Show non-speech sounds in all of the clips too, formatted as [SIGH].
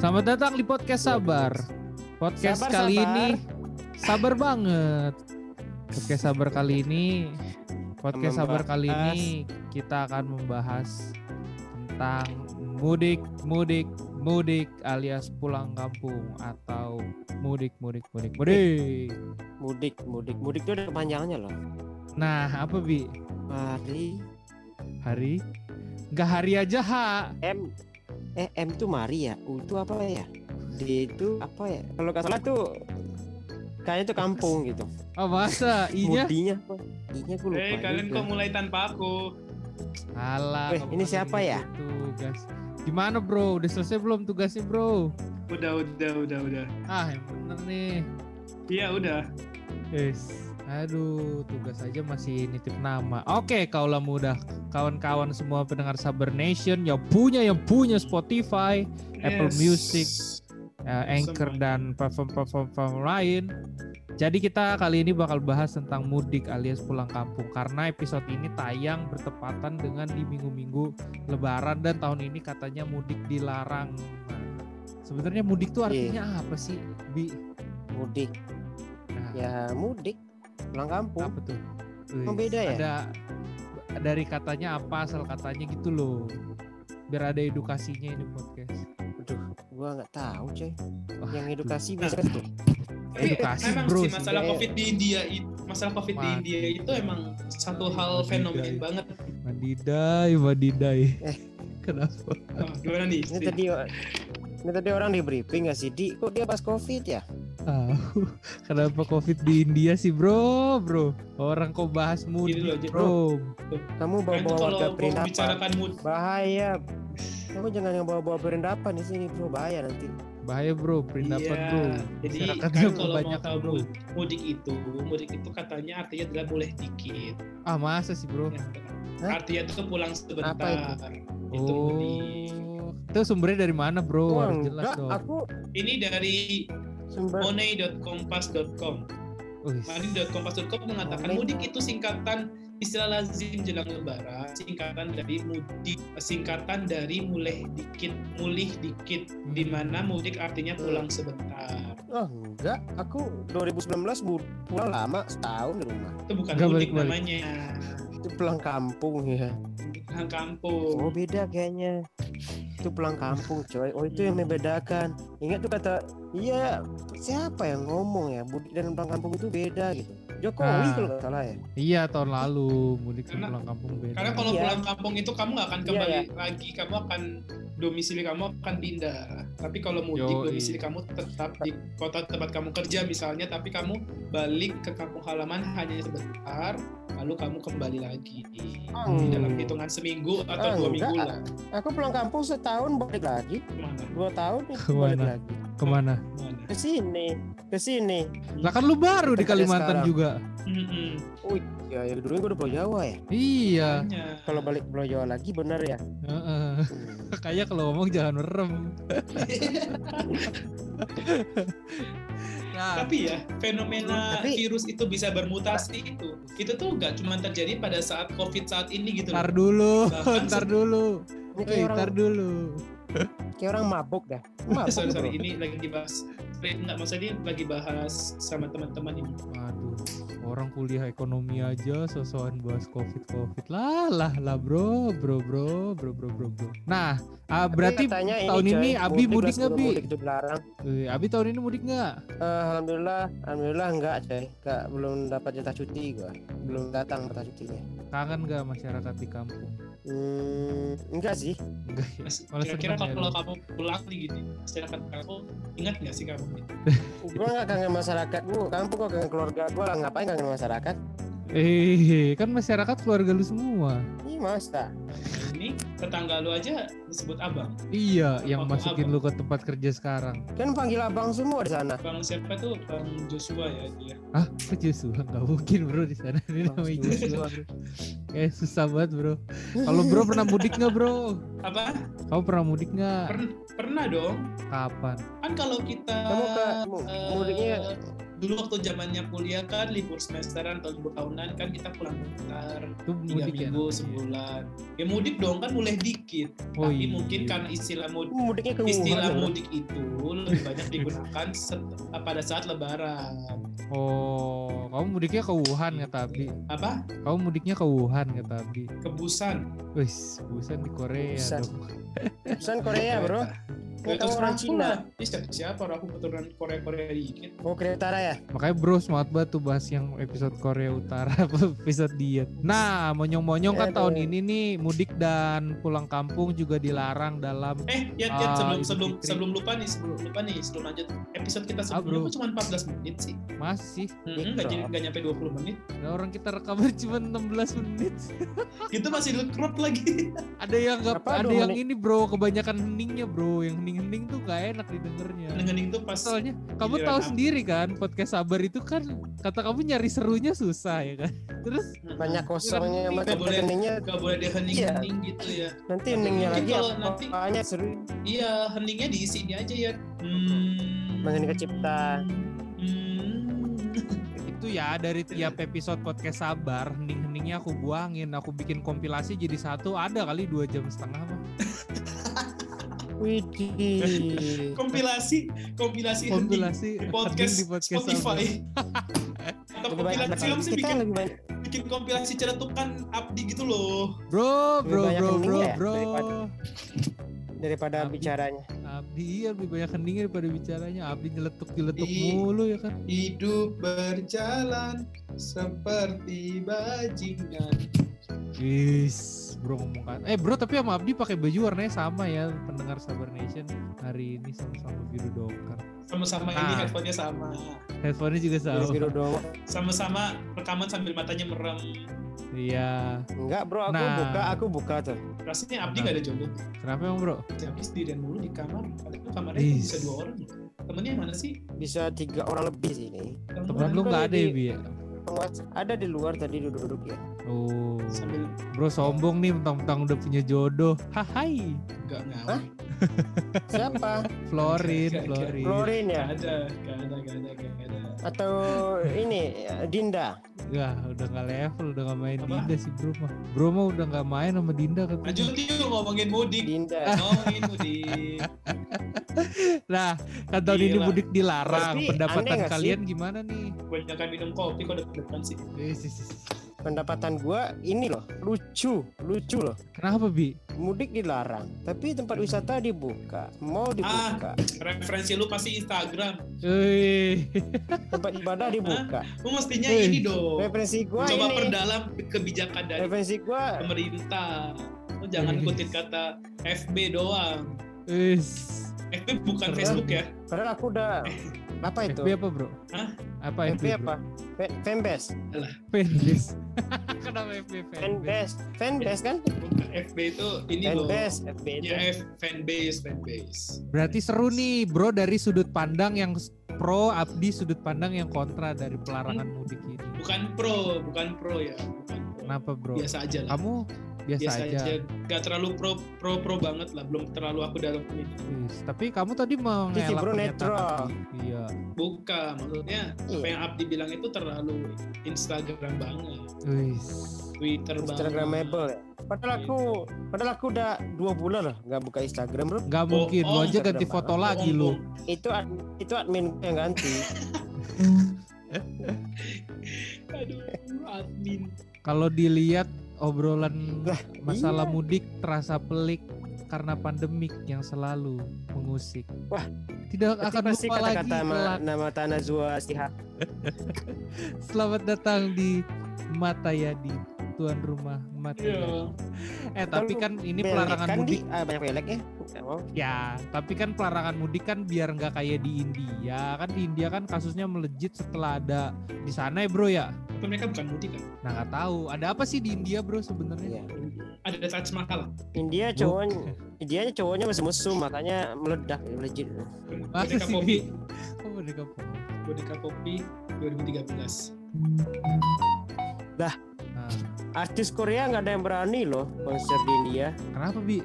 Selamat datang di podcast Sabar. Podcast Sabar, kali sabar. ini sabar banget. Podcast Sabar kali ini podcast Sabar kali ini kita akan membahas tentang mudik, mudik, mudik alias pulang kampung atau mudik, mudik, mudik, mudik. mudik mudik mudik itu ada kepanjangannya loh Nah, apa bi? mari Hari? Nggak hari aja ha. m eh m itu mari ya u itu apa ya d itu apa ya kalau nggak salah tuh kayaknya tuh kampung gitu Oh, masa inya? mudinya apa i-nya gue lupa Eh, kalian juga. kok mulai tanpa aku? Alah, Weh, kamu ini kan siapa lagi ya? Tugas. Gimana bro? Udah selesai belum tugasnya bro? Udah, udah, udah, udah. Ah, yang bener nih. Iya, udah. Yes. Aduh, tugas aja masih nitip nama. Oke, kaulah mudah. Kawan-kawan semua pendengar Saber Nation yang punya yang punya Spotify, Apple Music, eh, Anchor dan platform-platform lain. Jadi kita kali ini bakal bahas tentang mudik alias pulang kampung karena episode ini tayang bertepatan dengan di minggu-minggu Lebaran dan tahun ini katanya mudik dilarang. Nah, Sebenarnya mudik tuh artinya apa sih, Bi? mudik Nah, ya mudik pulang kampung apa tuh? Wih, Emang beda ya? Ada dari katanya apa asal katanya gitu loh. Biar ada edukasinya ini podcast. aduh gua nggak tahu coy Wah, yang edukasi Nah. bisa tuh Tapi edukasi, emang bro, sih masalah sih. COVID di India itu, masalah COVID di Wah. India itu emang satu hal Wah, fenomen gila. banget. Madidai, madidai. Eh. [LAUGHS] Kenapa? Oh, gimana nih? ini Sri? tadi ini tadi orang di briefing nggak sih di kok dia pas covid ya Tahu. Kenapa covid di India sih bro, bro? Orang kok bahas mudik loh, Jek, bro. kamu bawa Kalian tuh bawa kalau warga mau perindapan bicarakan mood, bahaya kamu jangan yang bawa-bawa berendapan di sini bro bahaya nanti Bahaya bro, perindapan Iya. bro. Jadi Masyarakat kan yang kalau mau kebanyakan tahu bro. mud- mudik itu, mudik itu katanya artinya adalah boleh dikit. Ah masa sih bro? Ya. Hah? Artinya itu pulang sebentar. Apa itu? Itu oh. mudik. Itu sumbernya dari mana bro? Wah, Oh, Harus jelas enggak, dong. aku Ini dari sumber money.kompas.com. Wih. Mari.kompas.com mengatakan Online. mudik itu singkatan istilah lazim jelang lebaran, singkatan dari mudik, singkatan dari mulai dikit, mulih dikit, Hmm. di mana mudik artinya pulang sebentar. oh enggak aku 2019 bu- pulang lama setahun di rumah Itu bukan Nggak mudik balik-balik. namanya, itu pulang kampung ya pulang kampung. oh beda kayaknya itu pulang kampung coy oh itu yang Hmm. membedakan ingat tuh kata iya siapa yang ngomong ya mudik dan pulang kampung itu beda gitu Jokowi Ah. kalau nggak salah ya Iya tahun lalu mudik sama Karena- pulang kampung beda. Karena kalau Iya. pulang kampung itu kamu nggak akan Iya, kembali lagi, kamu akan domisili kamu akan pindah. Tapi kalau mudik Yoi. domisili kamu tetap di kota tempat kamu kerja misalnya, tapi kamu balik ke kampung halaman hanya sebentar, lalu kamu kembali lagi di Hmm. Iya, dalam hitungan seminggu atau Ah, dua enggak. minggu lah. aku pulang kampung setahun balik lagi Mana? dua [LAUGHS] tahun Kemana? balik lagi kemana? Mana? ke sini ke sini Lah kan lu baru di Tempatnya Kalimantan sekarang. juga. Mm-mm. ya, ya dulu gue udah pulau Jawa ya Iya. Makanya. [LAUGHS] kalau balik pulau Jawa lagi benar ya Heeh. [LAUGHS] Hmm. Kayaknya kalau ngomong jangan merem. Nah, Tapi ya fenomena Tapi- virus itu bisa bermutasi itu. Itu tuh nggak cuma terjadi pada saat COVID saat ini gitu. loh. ntar dulu, [LAUGHS] Bahkan ntar dulu. Ini Eh, kayak orang ntar dulu. kayak orang mabuk dah. Mabuk sorry, sorry, bro. ini gitu? lagi dibahas enggak maksudnya ini lagi bahas sama teman-teman ini Aduh, orang kuliah ekonomi aja sosokan bahas covid covid lah lah lah bro bro bro bro bro bro. bro. Nah, ah, berarti Tapi katanya tahun ini coy, Abi mudik nggak, lah, Bi? Mudik itu dilarang. eh, Abi tahun ini mudik nggak? Eh, alhamdulillah, alhamdulillah enggak coy. Enggak belum dapat jatah cuti gua. Belum datang jatah cutinya. Kangen nggak masyarakat di kampung? Hmm, enggak sih. Enggak ya. Mas, Malah kira-kira seneng ya kalau lu. kamu pulang nih gitu masyarakat kamu ingat nggak sih kamu Nah, Gua enggak kangen masyarakat. Gua kampung gua kangen keluarga gua lah ngapain kangen masyarakat? Eh, [LAUGHS] kan masyarakat keluarga lu semua. Ih, masa. ini tetangga lu aja disebut abang Iya, yang Apa-apa. masukin lu ke tempat kerja sekarang. Kan panggil abang semua di sana. bang siapa tuh bang Joshua ya dia Hah, ke Joshua? Nggak mungkin bro di sana. Ini Bang namanya Joshua. Joshua. bro. Kayak susah banget bro. Kalau bro pernah mudik nggak bro? apa Kamu pernah mudik nggak? pernah dong Kapan? kan kalau kita Kamu ke mu- eh, ya? mudiknya dulu waktu zamannya kuliah kan libur semesteran atau libur tahunan kan kita pulang bentar Itu tiga mudik ya minggu namanya. sebulan ya mudik dong kan mulai dikit Oh tapi iya. mungkin karena istilah mudik mudiknya ke Wuhan istilah loh. mudik itu lebih banyak digunakan se- pada saat lebaran Oh, kamu mudiknya ke Wuhan kata Abi. apa Kamu mudiknya ke Wuhan kata Abi. kebusan Wis, Busan di Korea Busan. dong. Busan Korea bro Iya. Ini Kereta kamu orang seraku Cina lah. Ih, siapa, siapa orang aku keturunan Korea Korea dikit. Oh Korea Utara ya Makanya bro semangat banget tuh bahas yang episode Korea Utara [LAUGHS] episode diet. Nah monyong-monyong kan Aduh. tahun ini nih mudik dan pulang kampung juga dilarang dalam Eh, ya, ya Ah, sebelum Idul sebelum Fitri. sebelum lupa nih, sebelum lupa nih, sebelum lanjut episode kita sebelumnya bro. kok cuma 14 menit sih. masih. Mm-mm, nggak Ah, Betul. jadi nggak nyampe 20 menit. Nah, orang kita rekaman [LAUGHS] cuma 16 menit. Itu masih crop lagi. [LAUGHS] Ada yang nggak Apa ada dong, yang Nek? ini bro kebanyakan heningnya bro. Yang hening-hening tuh gak enak didengernya. Dengan itu pas Soalnya kamu Giliran tahu aku. sendiri kan podcast sabar itu kan kata kamu nyari serunya susah ya kan. [LAUGHS] Terus Banyak kosongnya Iya. Nggak Maka Iya, boleh. keningnya nggak boleh ada hening-hening gitu ya. Nanti heningnya Mungkin lagi kalau nanti- Apanya seru Iya, heningnya diisi ini aja ya. Hmm. Mengenai kecipta. Hmm. itu ya dari tiap episode podcast sabar hening-heningnya aku buangin aku bikin kompilasi jadi satu ada kali dua jam setengah mah Widih Kompilasi, kompilasi, hening kompilasi di hening podcast, di podcast Spotify. sabar Atau Lebih banyak kompilasi kamu sih kita bikin lebih banyak bikin kompilasi celetukan Abdi gitu loh. bro Lebih bro banyak bro bro heningnya ya bro daripada- daripada Tapi- bicaranya Abdi iya lebih banyak heningnya daripada bicaranya Abdi nyeletuk nyeletuk Ih. mulu ya kan Hidup berjalan seperti bajingan. Wis, bro ngomong kan. Eh bro tapi sama Abdi pakai baju warnanya sama ya pendengar Sabar Nation hari ini sama-sama biru dokar. Sama-sama ini Nah. headphone-nya sama. Headphone-nya juga sama. biru dong Sama-sama rekaman sambil matanya merem. Iya. enggak bro aku Nah. buka aku buka tuh Ah. Rasanya Abdi nggak ada jodoh. Kenapa emang bro? Tapi sendirian mulu di kamar. Padahal kamarnya itu Is. bisa dua orang. ya? Temennya mana sih? bisa tiga orang lebih sih ini Temen Temen lu Bro, nggak ada ya di- Bi ya? Penguas- ada di luar tadi duduk-duduk ya Oh. Sambil Bro sombong nih mentang-mentang udah punya jodoh. Hai. nggak ngawe. Hah? [LAUGHS] siapa Florin, Gak- gak- Florin. Florin ya Nggak ada, nggak ada, nggak ada, nggak ada. atau ini ya, Dinda Wah, udah nggak level, udah nggak main Apa? Dinda sih Bro mah. Bro mah udah nggak main sama Dinda katanya. Lanjut yuk ngomongin mudik. Iya. Dinda Ngomongin mudik. Nah, kan tahun ini Gila. mudik dilarang. Tapi aneh Pendapatan nggak sih? kalian gimana nih? Eh, Kebanyakan minum kopi kok depan sih. Wis, wis, wis. pendapatan gua ini loh lucu lucu loh Kenapa Bi? mudik dilarang tapi tempat wisata dibuka mau Ah. dibuka Referensi lu pasti Instagram. Eh, tempat ibadah [LAUGHS] dibuka Lu mestinya Eh, ini dong. referensi gua Coba ini perdalam kebijakan dari referensi gua pemerintah. Lu jangan Eh. ngikutin kata FB doang. wis. FB bukan Keren. Facebook ya. padahal aku udah apa itu FB apa bro? Hah? Apa FB FB, apa Fa- fanbase Bro? Fanbase. [LAUGHS] Kenapa FB fanbase? fanbase fanbase kan Bukan FB itu ini loh. fanbase FB itu Ya F fanbase fanbase. Berarti seru nih bro dari sudut pandang yang pro, Abdi sudut pandang yang kontra dari pelarangan mudik ini. Bukan pro, bukan pro ya. Bukan pro. Kenapa bro? Biasa aja lah. Kamu biasa, Biasa aja. aja. Gak terlalu pro pro pro banget lah. Belum terlalu aku dalam ini. Wis, Tapi kamu tadi mau Jadi bro netral. Iya. Bukan maksudnya apa Iya. yang Abdi bilang itu terlalu Instagram banget, Wis. Twitter banget. Instagramable ya. Padahal aku padahal aku udah dua bulan loh nggak buka Instagram bro. Nggak mungkin, lu oh, Bohong, aja Instagram ganti foto banget. lagi lu. Bohong-bohong. Itu ad- itu admin yang ganti. Aduh, admin. Kalau dilihat obrolan Lah, masalah iya. mudik terasa pelik karena pandemik yang selalu mengusik. Wah, tidak Berarti akan pasti lupa lagi kata-kata nama, kelak. nama tanah Zua Sihab. Selamat datang di Matayadi, tuan rumah Matayadi. Iya. Eh tapi Kalau kan ini Belek pelarangan kan mudik di- ah, banyak belek ya. Ya, mau. ya, tapi kan pelarangan mudik kan biar nggak kayak di India. Kan di India kan kasusnya melejit setelah ada di sana ya, Bro ya. Tapi mereka bukan mudik kan? Nah, nggak tahu ada apa sih di India, Bro sebenarnya? Iya. Ada Taj Mahal. India Bu. cowoknya India cowoknya masih musuh makanya meledak legit. Masa Boneka sih, Bi? [LAUGHS] Kopi. Kok boneka Poppy? Boneka Kopi 2013. Dah. Nah, Artis Korea nggak ada yang berani loh konser di India. kenapa, Bi?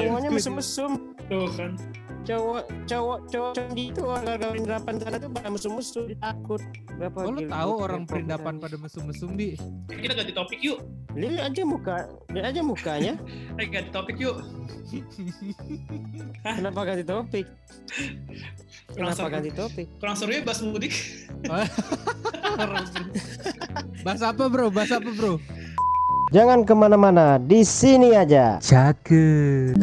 Nah, Iya. iya. Cowoknya mesum mesum. Tuh kan. cowok cowok cowok cowok itu warga perindapan sana tuh pada musuh-musuh takut berapa Oh, lu gila- tahu gila- orang gila- perindapan pada mesum-mesum di. Kita ganti topik yuk. lihat aja muka lihat aja [LAUGHS] mukanya Eh ganti topik yuk. kenapa ganti topik kenapa Langsung. ganti topik Kurang seru ya bahas [LAUGHS] mudik. Bahas apa bro? Bahas apa bro? jangan kemana-mana di sini aja Cakep.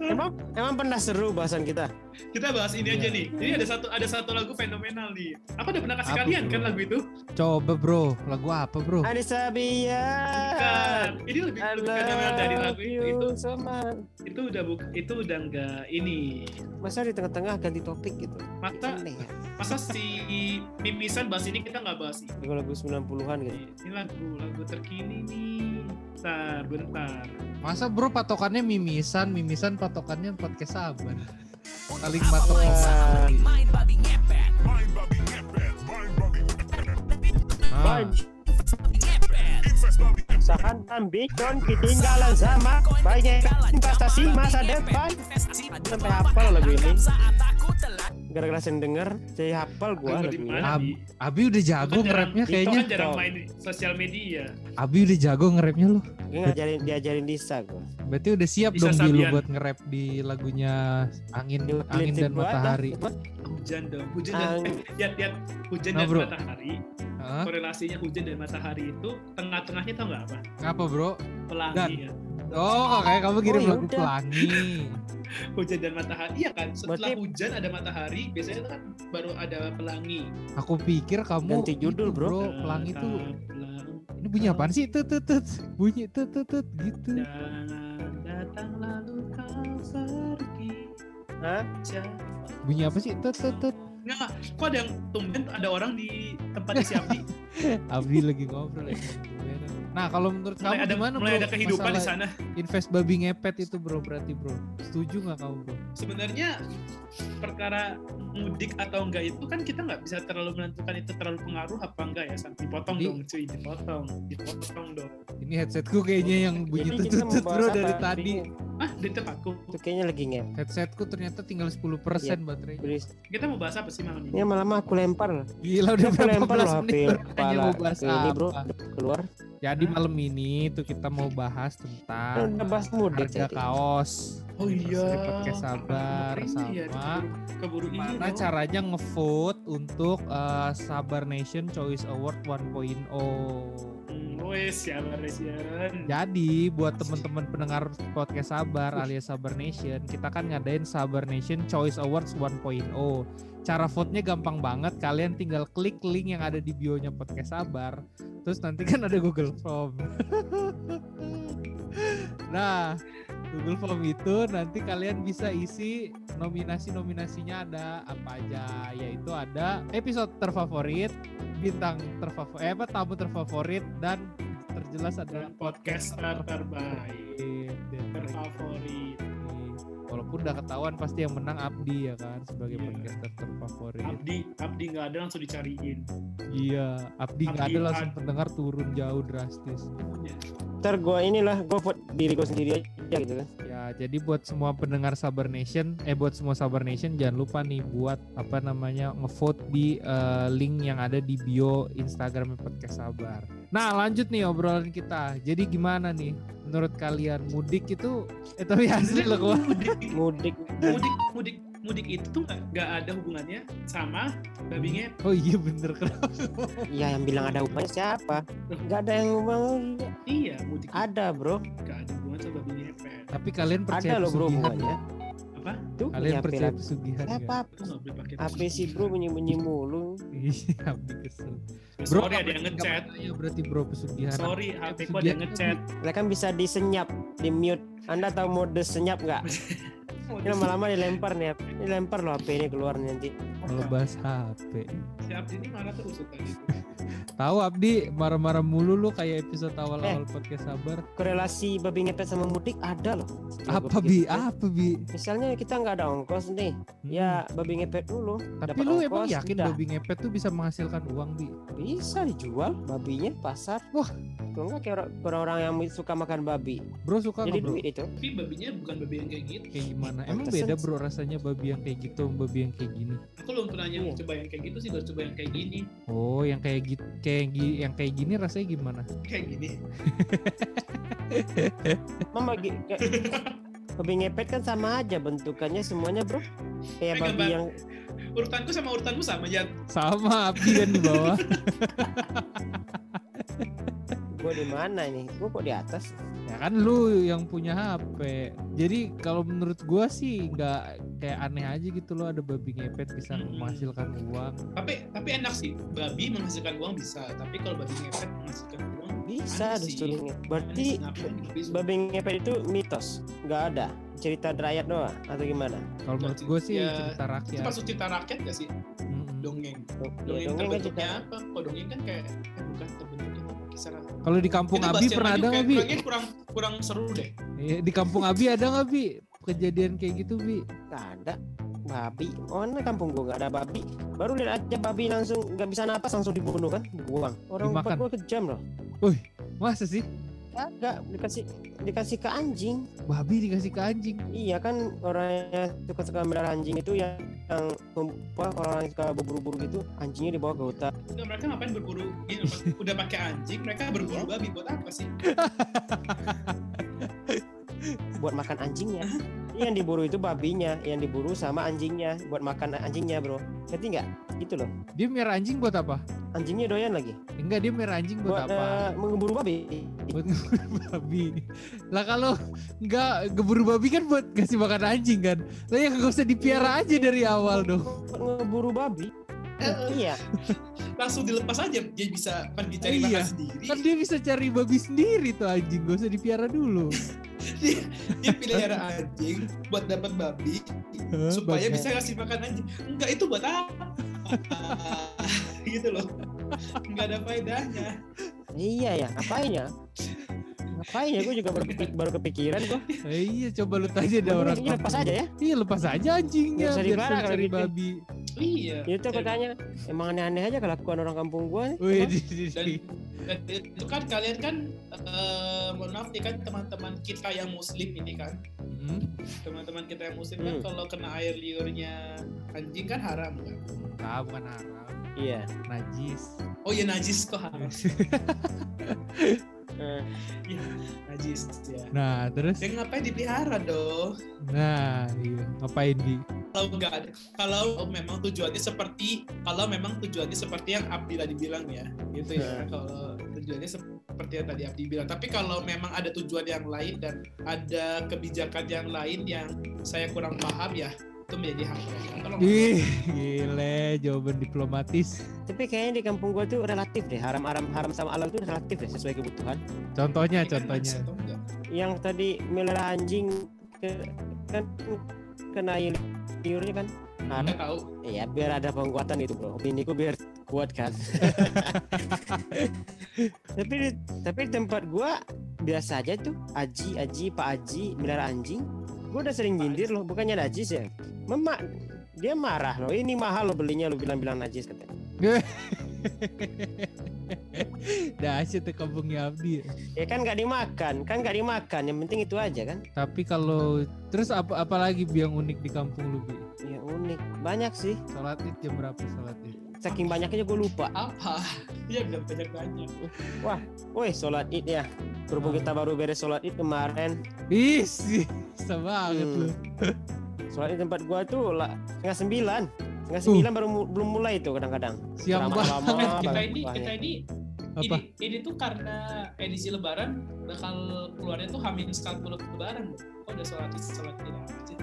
emang emang pernah seru bahasan kita Kita bahas ini aja Iya. nih. Jadi ada satu ada satu lagu fenomenal nih. Aku udah pernah kasih Apa kalian tuh? Iya. kan lagu itu? Coba bro, lagu apa bro? Anissa Bukan. Bian Kan. Ini lebih I lebih fenomenal dari love lagu itu. Itu you so much. itu udah buk, itu udah enggak ini. Masa di tengah-tengah ganti topik gitu? Masa Aneh ya. masa si mimisan bahas ini kita nggak bahas ini. Lagu lagu 90-an gitu. Ini lagu lagu terkini nih. Bentar, bentar. Masa bro patokannya mimisan, mimisan patokannya podcast sabar. Paling patokan. Wah. Ah, Sahan ambition ketinggalan sama banyak investasi masa depan. Sampai hafal lagu ini. Gara-gara sering denger, jadi hafal gua Lagu lagu di ini. mana? Di? Abi udah jago Bukan jarang- nge-rapnya Dito kayaknya. kan jarang Tau. main di sosial media. Abi udah jago nge-rapnya lu. Dia ngajarin diajarin Lisa gua. Berarti udah siap Bisa dong Bi, lu Sabian. buat nge-rap di lagunya Angin Dia Angin ngeliatin dan gua, Matahari. dah. Hujan dong. Hujan dan Ang- eh, lihat lihat Ah. hujan Nah, dan bro. matahari. Hah? Korelasinya hujan dan matahari itu tengah-tengahnya tau nggak apa? Apa bro? Dan. Pelangi ya. Oh, kayak kamu kirim Oh, lagu yaudah. pelangi. Hujan dan matahari iya kan. Setelah Berarti- hujan ada matahari, biasanya kan baru ada pelangi. Aku pikir kamu Ganti judul, itu, bro. Oh, Nah. pelangi Ta- tuh pelangi. ini bunyi apaan sih? Tut tut tut. Bunyi tut tut tut gitu. Nah. Jangan datang lalu kau pergi. Hah? Jangan- Bunyi apa sih? Tut tut tut. Nggak, kok ada yang tumben ada orang di tempatnya si [LAUGHS] Abdi? Abi Eh, lagi ngobrol ya. Nah, kalau menurut kamu mulai ada, gimana mulai bro? ada kehidupan di Masalah sana. invest babi ngepet itu bro berarti bro. Setuju nggak kamu bro? sebenarnya perkara mudik atau enggak itu kan kita nggak bisa terlalu menentukan itu terlalu pengaruh apa enggak ya Sam. dipotong Jadi- dong cuy dipotong dipotong dong Ini headsetku kayaknya yang bunyi Jadi tut kita tut tut, mau bro bahas dari apa? tadi. Bingung. ah di tempatku Itu kayaknya lagi ngep. Headsetku ternyata tinggal 10% Iya. baterainya. kita mau bahas apa sih malam Ini Iya. ini lama-lama aku lempar. Gila udah Dia berapa lempar belas loh menit HP baru nanya kepala mau bahas ke ini bro apa. keluar. Jadi Ya, malam ini tuh kita mau bahas Kan tentang udah bahas mudik Ah, harga tadi. kaos. oh iya Anniversary podcast sabar Makanya sama ya, keburu, keburu ini Gimana dong. caranya ngevote untuk eh, Sabar Nation Choice Award oh. 1.0. Hmm, wes siaran siaran Ya. Jadi buat teman-teman pendengar podcast Sabar alias Sabar Nation, kita kan ngadain Sabar Nation Choice Awards 1.0. Cara vote-nya gampang banget, kalian tinggal klik link yang ada di bio-nya podcast Sabar. Terus nanti kan ada Google Form. [LAUGHS] nah, Google Form itu nanti kalian bisa isi nominasi-nominasinya ada apa aja, yaitu ada episode terfavorit, bintang terfavorit, eh, apa tamu terfavorit dan terjelas adalah dan podcast terbaik terbaik. terfavorit Walaupun udah ketahuan pasti yang menang Abdi ya kan sebagai Iya. podcaster terfavorit. Abdi Abdi nggak ada langsung dicariin Iya, Abdi nggak Abdi ada langsung ad- pendengar turun jauh drastis. Ntar gua inilah gua buat diri gua sendiri aja gitu kan. Ya, jadi buat semua pendengar Sabar Nation, eh buat semua Sabar Nation jangan lupa nih buat apa namanya ngevote di eh, link yang ada di bio Instagram podcast Sabar. Nah, lanjut nih obrolan kita. Jadi gimana nih menurut kalian mudik itu eh tapi asli loh [LAUGHS] gua. Mudik. Mudik mudik mudik mudik itu tuh nggak nggak ada hubungannya sama babi ngepet Oh iya bener kenapa? ya yang bilang ada hubungannya siapa? Gak ada yang hubungan iya mudik itu ada bro. nggak ada hubungan sama babi ngepet Tapi kalian percaya ya? Ada loh bro pesugihan hubungannya. apa Tuh Kalian punya percaya ya? HP pesugihan lagi. nggak? [LAUGHS] apa? itu nggak boleh pakai HP sih bro bunyi-bunyi mulu. Iya, Abdi kesel. bro nggak sorry ada yang percaya- nggak ngechat percaya berarti bro pesugihan. sorry Apa HP ku ada pesugihan, yang ngechat Lah kan bisa disenyap, di mute. Anda tahu mode senyap nggak? Ini lama-lama dilempar nih, HP. Ini lempar loh HP ini keluar nih nanti. Kalau bahas HP. si Abdi ini marah terus tadi Tahu Abdi marah-marah mulu lu kayak episode Eh. awal-awal podcast sabar. korelasi babi ngepet sama mudik ada loh Setelah Iya, gua Apa bi? Hmm. pikir-pikir. Apa bi? misalnya kita nggak ada ongkos nih ya babi ngepet dulu Hmm. Tapi dapat lu ongkos, emang yakin udah. babi ngepet tuh bisa menghasilkan uang bi? bisa dijual babinya pasar Wah. kalau nggak kayak orang- orang-orang yang suka makan babi Bro suka nggak jadi bro? duit itu Tapi babinya bukan babi yang kayak gitu. Kayak gimana? Emang Pantesan beda bro rasanya babi yang kayak gitu sama babi yang kayak gini. Aku belum pernah yang Iya. coba yang kayak gitu sih, baru coba yang kayak gini. Oh, yang kayak gitu, kayak gi- yang kayak gini rasanya gimana? Kayak gini. Emang bagi [LAUGHS] kayak- babi ngepet kan sama aja bentukannya semuanya bro kayak Kayak babi gambar. yang Urutanku sama urutanmu sama ya. Sama Abdi kan di bawah. gue di mana ini gue kok di atas ya kan lu yang punya HP. Jadi kalau menurut gua sih nggak kayak aneh aja gitu loh ada babi ngepet bisa Mm-mm. menghasilkan uang. Tapi tapi enak sih. Babi menghasilkan uang bisa, tapi kalau babi ngepet menghasilkan uang bisa Aneh sih. disuruhnya aneh sih, berarti ngapain babi suka- babi ngepet itu mitos nggak ada cerita derayat doang atau gimana Kalau menurut gua sih cerita Ya, Itu rakyat. masuk cerita rakyat gak sih? Mm-mm. Dongeng. Dong- Iya, ya, dongeng Dongeng kan cerita terbentuknya apa? Kok dongeng kan kayak eh, bukan terbentuknya apa kisah rakyat. Kalau di kampung Itu Abi bahas pernah zaman ada juga, nggak Bi? Kayaknya kurang kurang seru deh. Iya, Di kampung Abi ada nggak Bi? Kejadian kayak gitu Bi? nggak ada babi mana kampung gua nggak ada babi baru lihat aja babi langsung nggak bisa napas langsung dibunuh kan dibuang orang Dimakan. empat gua kejam loh Masa sih? kagak dikasih dikasih ke anjing Babi dikasih ke anjing. iya kan orang yang suka suka melihara anjing itu yang yang mem- apa, orang yang suka berburu-buru gitu anjingnya dibawa ke hutan Enggak, mereka ngapain berburu? Gini, Mas. udah pakai anjing, mereka berburu babi buat apa sih? buat makan anjingnya yang diburu itu babinya yang diburu sama anjingnya buat makan anjingnya bro ngerti nggak gitu loh Dia merah anjing buat apa? anjingnya doyan lagi Enggak, dia merah anjing buat, buat, apa? eh, mengeburu babi buat ngeburu babi lah kalau nggak geburu babi kan buat kasih makan anjing kan lah ya nggak usah dipiara aja dari awal dong buat ngeburu babi iya Langsung dilepas aja, dia bisa pergi cari Iya. makan sendiri. kan dia bisa cari babi sendiri tuh anjing gak usah dipiara dulu [LAUGHS] Dia pelihara anjing buat dapat babi Hah, supaya babi. bisa kasih makan anjing. Enggak itu buat apa? [LAUGHS] gitu loh. Enggak ada faedahnya. iya ya ngapain ya ngapain ya gue juga baru, kepi- baru kepikiran gue Eh, iya coba lu tanya dah orang ini lepas kampung. aja ya iya lepas aja anjingnya Nggak biar usah dipiara suruh kalau cari gitu. babi Iya. Ya, itu Dan- katanya emang aneh-aneh aja kelakuan orang kampung gue Wih, dan, dan itu kan kalian kan eh, mohon maaf nih kan teman-teman kita yang muslim ini kan Hmm, teman-teman kita yang muslim kan Hmm. kalau kena air liurnya anjing kan haram kan enggak Nah, bukan haram iya najis oh ya najis kok haram Eh, najis ya nah terus yang ngapain dipelihara dong nah iya ngapain di kalau nggak ada kalau memang tujuannya seperti kalau memang tujuannya seperti yang Abdi tadi bilang ya gitu Nah. ya kalau tujuannya seperti yang tadi Abdi bilang tapi kalau memang ada tujuan yang lain dan ada kebijakan yang lain yang saya kurang paham ya itu menjadi hak mereka Tolong, ih gile jawaban diplomatis tapi kayaknya di kampung gue tuh relatif deh haram haram haram sama halal tuh relatif deh sesuai kebutuhan contohnya ini kan najis contohnya atau enggak? yang tadi melihara anjing ke, kan kena il- liurnya kan Nggak tahu ya biar ada penguatan itu bro biniku biar kuat kan tapi di, tapi di tempat gua biasa aja tuh aji aji pak aji melihara anjing gua udah sering nyindir loh bukannya najis ya memak dia marah loh ini mahal lo belinya lo bilang-bilang najis katanya [LAUGHS] Dahsyat tuh kampungnya Abdi. ya kan nggak dimakan kan nggak dimakan yang penting itu aja kan Tapi kalau terus apa apalagi Bi, yang unik di kampung lu Bi? ya unik banyak sih Salat id jam berapa salat id? saking banyaknya gue lupa apa [LAUGHS] ya udah banyak banyak woi sholat id ya berhubung kita Hmm. baru beres sholat id kemarin Ih, sih, bisa banget Hmm. lu. Soalnya tempat gua tuh lah, setengah sembilan. Setengah sembilan baru mu- belum mulai tuh kadang-kadang. Siang Drama banget lama Hmm. Ya kita banget ini kita buahnya. ini apa? ini ini tuh karena edisi lebaran bakal keluarnya tuh hamin sekali lebaran kok udah sholat id sholat id aja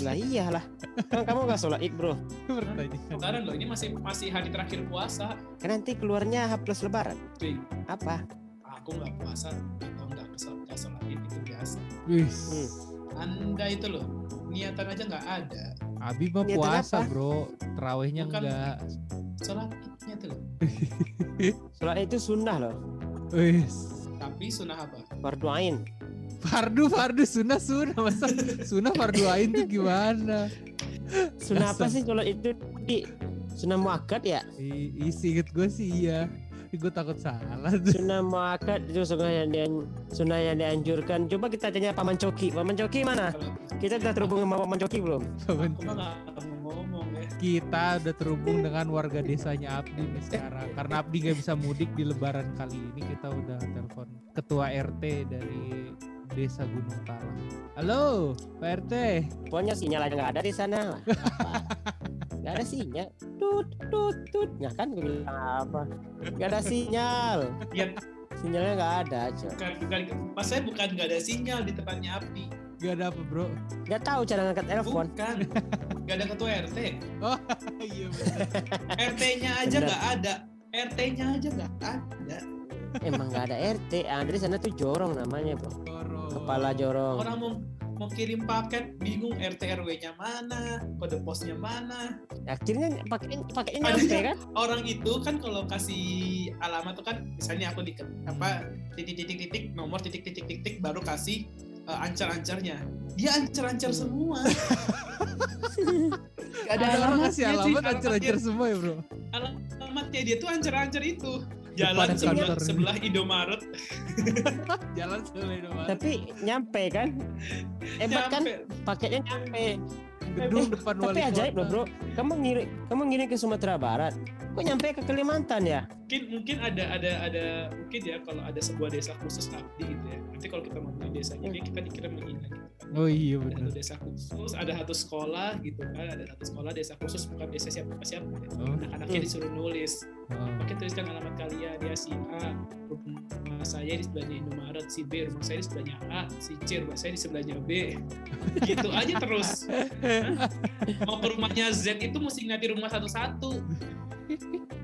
Lah iyalah. Kan kamu gak sholat id bro. Pertanyaan. Lebaran loh, ini masih masih hari terakhir puasa. Kan nanti keluarnya H plus lebaran. Cuy, Apa? aku nggak puasa atau nggak kesel nggak sholat id itu biasa. Wih. Hmm. Anda itu loh niatan aja nggak ada, Abi mah Niatan puasa, apa? Bro. Terawihnya Bukan. enggak. sholat idnya sholatnya itu loh. Sholat itu sunnah loh. Wis. Tapi sunnah apa? Fardu ain. Fardu, fardu, sunnah, sunnah. Masa sunnah fardu ain tuh gimana? Sunnah apa Dasar. sih sholat itu di sunnah muakkad ya? I, isi inget gue sih iya. Gue takut salah tuh. Sunnah muakkad itu sunnah yang dian- sunnah yang dianjurkan. Coba kita tanya Paman Coki. Paman Coki mana? Kalau Kita udah terhubung sama Paman Coki belum? Paman aku mah nggak mau ngomong ya. kita udah terhubung dengan warga desanya Abdi nih sekarang karena Abdi nggak bisa mudik di Lebaran kali ini kita udah telepon ketua RT dari desa Gunung Tarang. Halo Pak RT. Pokoknya sinyal aja nggak ada di sana. Lah, Apa? Nggak ada sinyal. Tut tut tut. Ya kan gue bilang apa? Nggak ada sinyal. Ya Sinyalnya nggak ada aja. bukan bukan pas saya bukan nggak ada sinyal di tempatnya Abdi. Gak ada apa bro? [LAUGHS] Nggak tahu cara ngangkat telepon. Bukan. Gak ada ketua RT. Iya RT-nya aja Benar. nggak ada. RT-nya aja nggak ada. Emang nggak ada RT. Ada di sana tuh jorong namanya bro. Kepala jorong. Oh. Orang mau mau kirim paket bingung RT RW-nya mana, kode posnya mana. Nah, Akhirnya pakai pakai Ada nyampe juga. kan? Orang itu kan kalau kasih alamat tuh kan misalnya aku di apa titik-titik-titik nomor titik-titik-titik baru kasih eh, ancar-ancarnya. Dia ancar-ancar semua. [LAUGHS] Gak Ada orang ngasih alamatnya, cuy. alamat ancer-ancer semua ya bro. alamatnya dia tuh ancer-ancer itu. Depan Jalan sebelah, kantor. sebelah Indomaret Jalan selain Tapi nyampe kan? Ya, Hebat kan? nyampe. Paketnya nyampe. gedung depan Tapi wali ajaib kota. loh bro. Kamu ngirim kamu ngirim ke Sumatera Barat. Kok nyampe ke Kalimantan ya? mungkin mungkin ada ada ada mungkin ya kalau ada sebuah desa khusus abdi gitu ya nanti kalau kita ngomongin desanya dia kita dikirim menghina gitu kan Oh iya ada satu benar. desa khusus ada satu sekolah gitu kan ada satu sekolah desa khusus bukan desa siapa siapa ya. Oh, anak-anaknya disuruh nulis oh. pakai tuliskan alamat kalian ya si A rumah saya di sebelahnya Indomaret si B rumah saya di sebelahnya A si C rumah saya di sebelahnya [LAUGHS] B gitu aja terus Hah? mau ke rumahnya Z itu mesti ngati rumah satu-satu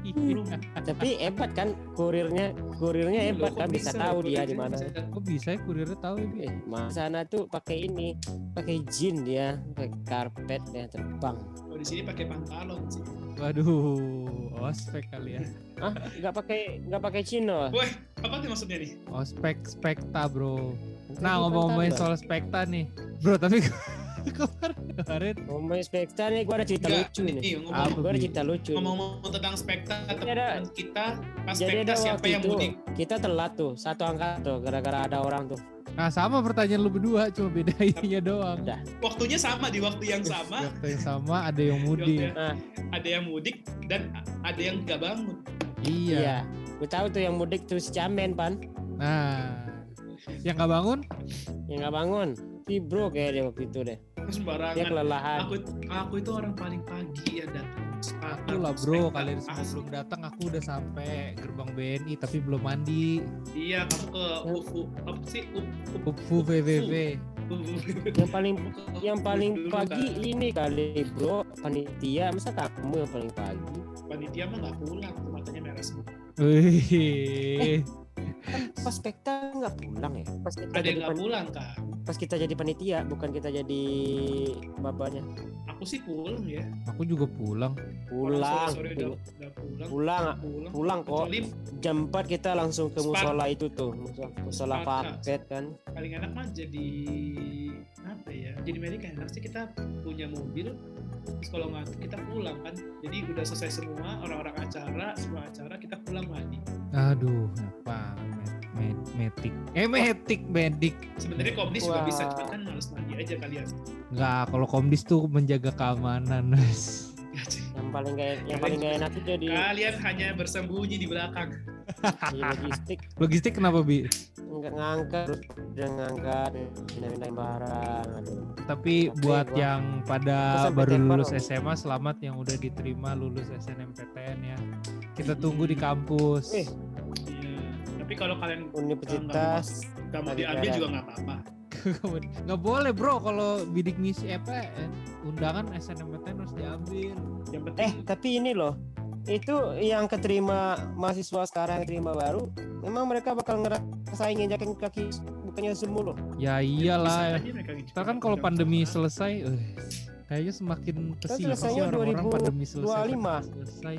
Iya. Belum. Tapi hebat kan kurirnya, kurirnya Iya, hebat loh, kan kok bisa bisa tahu loh, dia di kurirnya mana. bisa Kok bisa ya kurirnya tahu ini? Eh, Mas sana tuh pakai ini, pakai jin dia, pakai karpet dia terbang. Kalau di sini pakai pantalon sih. Waduh, ospek kali ya. Ah, nggak pakai nggak pakai Nah, chino. Weh, apa tuh maksudnya nih? Ospek spekta bro. Tadi Nah ngomong-ngomongin pantalon. soal spekta nih Bro tapi [LAUGHS] kemarin, kemarin ngomongin spekta nih, gua ada cerita Nggak, lucu nih. nih, Apa, ngomong, Gua ada Bi? cerita lucu. nih. ngomong tentang spekta Jadi ada- teman kita pas Jadi ada spekta siapa waktu yang itu mudik kita telat tuh, satu angkat tuh, gara-gara ada orang tuh. Nah sama pertanyaan lu berdua cuma beda [LAUGHS] ininya doang waktunya sama di waktu yang sama Waktu Iya, yang sama ada yang di waktu mudik yang- Ah. ada yang mudik dan a- ada yang nggak bangun Iya Iya. Gue tahu tuh yang mudik tuh si Camen, Pan. Nah Yang gak bangun Yang nggak bangun. Si bro kayaknya waktu itu deh. Dia sembarangan kelelahan. aku aku itu orang paling pagi ya, yang datang Aku lah bro kalian semua belum datang aku udah sampai gerbang BNI tapi belum mandi iya kamu ke Ya. UFU apa sih UFU Ufu VVV Yang paling yang paling pagi ini kali bro panitia masa kamu yang paling pagi kan, panitia mah nggak pulang tuh matanya merah semua Wih pas spekta nggak pulang ya pas kita ada yang jadi nggak pan- pulang kan pas kita jadi panitia bukan kita jadi bapaknya aku sih pulang ya Aku juga pulang pulang sore udah, udah pulang pulang pulang pulang kok kecuali jam 4 kita langsung ke Sparta. musola itu tuh musola, musola Sparta. parket kan paling enak mah jadi apa ya jadi medik kan enak sih kita punya mobil terus kalau nggak kita pulang kan jadi udah selesai semua orang-orang acara semua acara kita pulang lagi Aduh apa Metik Eh metik medik sebenarnya komdis juga Wah. bisa cuma kan harus mandi aja kalian Nggak, kalau Komdis tuh menjaga keamanan. [LAUGHS] Mas. yang paling gak yang paling gak enak itu jadi kalian hanya bersembunyi di belakang di logistik Logistik kenapa bi? nggak ngangkat udah ngangkat pindah-pindah barang aduh Tapi Tapi buat gua- yang pada Gua sampai baru telepon lulus loh. SMA, selamat yang udah diterima lulus SNMPTN ya. Kita Mhm. tunggu di kampus. Eh. Iya. tapi kalau kalian universitas nggak mau Lagi Oh, diambil jalan. juga nggak apa-apa Nggak boleh bro, kalau bidik misi apa eh, undangan SNMPTN harus diambil. yang penting Eh, tapi ini loh. Itu yang keterima mahasiswa sekarang yang terima baru, memang mereka bakal ngerasain nginjakin kaki bukannya semu loh. Ya bisa iyalah. aja mereka Ntar kan kalau pandemi selesai selesai, eh, Kayaknya semakin Kan kesini sih selesainya orang-orang 2025. pandemi selesai. pandemi Selesai.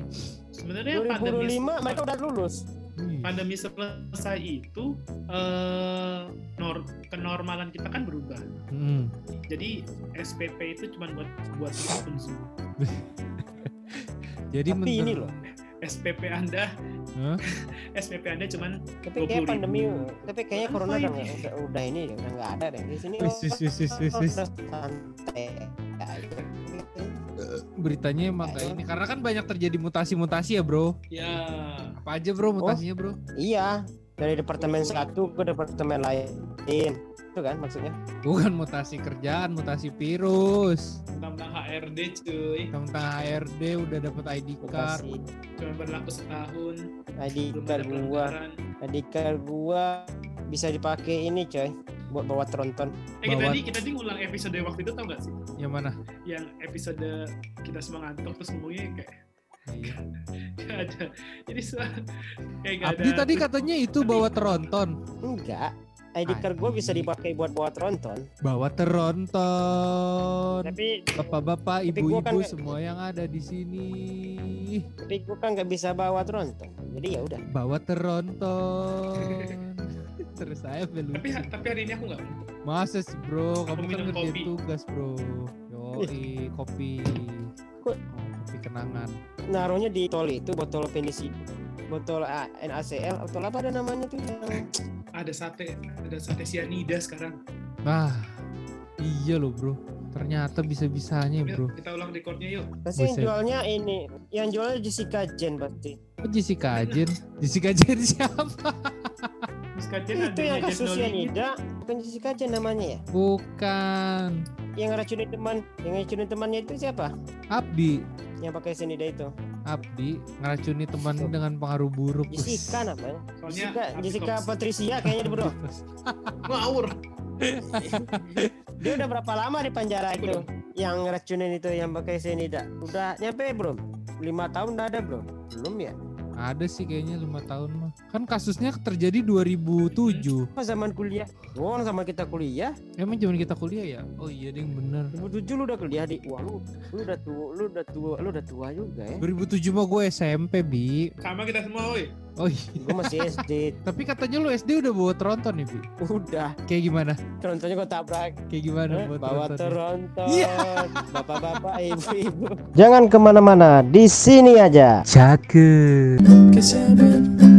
Sebenarnya Iya, pandemi 2025 mereka udah lulus. Hmm. pandemi selesai itu eh nor kenormalan kita kan berubah. Hmm. Jadi SPP itu cuma buat buat konsum. Jadi Tapi menurut- ini loh, SPP Anda [LAUGHS] Hah? SPP Anda cuman tapi kayak 20.000. pandemi tapi kayaknya Apa corona udah, ini? nggak- udah, udah ini ya, udah nggak ada deh di sini Wis, wis, wis, wis, wis, wis. udah santai aja. beritanya emang kayak ini karena kan banyak terjadi mutasi-mutasi ya bro ya apa aja Oh. bro mutasinya bro Iya, dari departemen satu ke departemen lain. Itu kan maksudnya. bukan mutasi kerjaan mutasi virus tentang HRD cuy tentang HRD udah dapat ID card Mutasi cuma berlaku setahun ID belum ada card gua, pelanggaran. ID card gua bisa dipakai ini coy buat bawa tronton. Eh kita Bahwa- tadi kita tadi ngulang episode waktu itu tau gak sih? yang mana Yang episode kita semua ngantuk terus ngomongnya kayak [LAUGHS] Iya. gak ada. Jadi se- kayak gak Abdi ada. tadi katanya itu Tapi- bawa teronton Enggak. ID card gua bisa dipakai buat bawa tronton. bawa teronton Tapi bapak-bapak Tapi gua ibu-ibu kan nggak- semua yang ada di sini tapi gua kan nggak bisa bawa tronton. Jadi ya udah. bawa [LAUGHS] teronton terus saya belum Tapi ya- tapi hari ini aku gak masa sih bro kamu kan minum ngerjain kopi. tugas bro yoi kopi Oh, Kok- kopi kenangan Naruhnya di tol itu botol penisi botol ah, A- NaCl botol apa ada namanya tuh yang ada sate ada sate sianida sekarang. Nah, iya loh bro. Ternyata bisa-bisanya Yuk, Iya, bro. kita ulang recordnya yuk. pasti yang Buset. jualnya ini yang jualnya Jessica Jane pasti Oh, Jessica Jen. Jessica Jen siapa? Terus kajian itu yang adanya Jen kasus Dolin. Yanida bukan Jessica Jane namanya ya Bukan. yang ngeracunin teman yang ngeracunin temannya itu siapa Abdi. yang pakai senida itu Abdi ngeracuni teman dengan pengaruh buruk. Wis. Jessica namanya Soalnya Jessica Abdi Jessica Tops. Patricia kayaknya dia, bro ngawur. dia udah berapa lama di penjara itu yang ngeracunin itu yang pakai senida udah nyampe bro lima tahun udah ada bro belum ya Ada sih kayaknya lima tahun mah. Kan kasusnya terjadi 2007. pas zaman kuliah oh sama kita kuliah Emang zaman kita kuliah ya? Oh iya ding bener. 2007 lu udah kuliah di wah lu lu udah tua lu udah tua lu udah tua juga ya 2007 mah gue SMP bi. Sama kita semua woi. Oh iya. gue masih SD Tapi katanya lu SD udah bawa tronton nih bi. udah Kayak gimana? trontonnya gue tabrak Kayak gimana Eh, bawa bawa tronton? Toronto Iya. bapak-bapak ibu-ibu jangan kemana-mana di sini aja Cakep. Cause I've been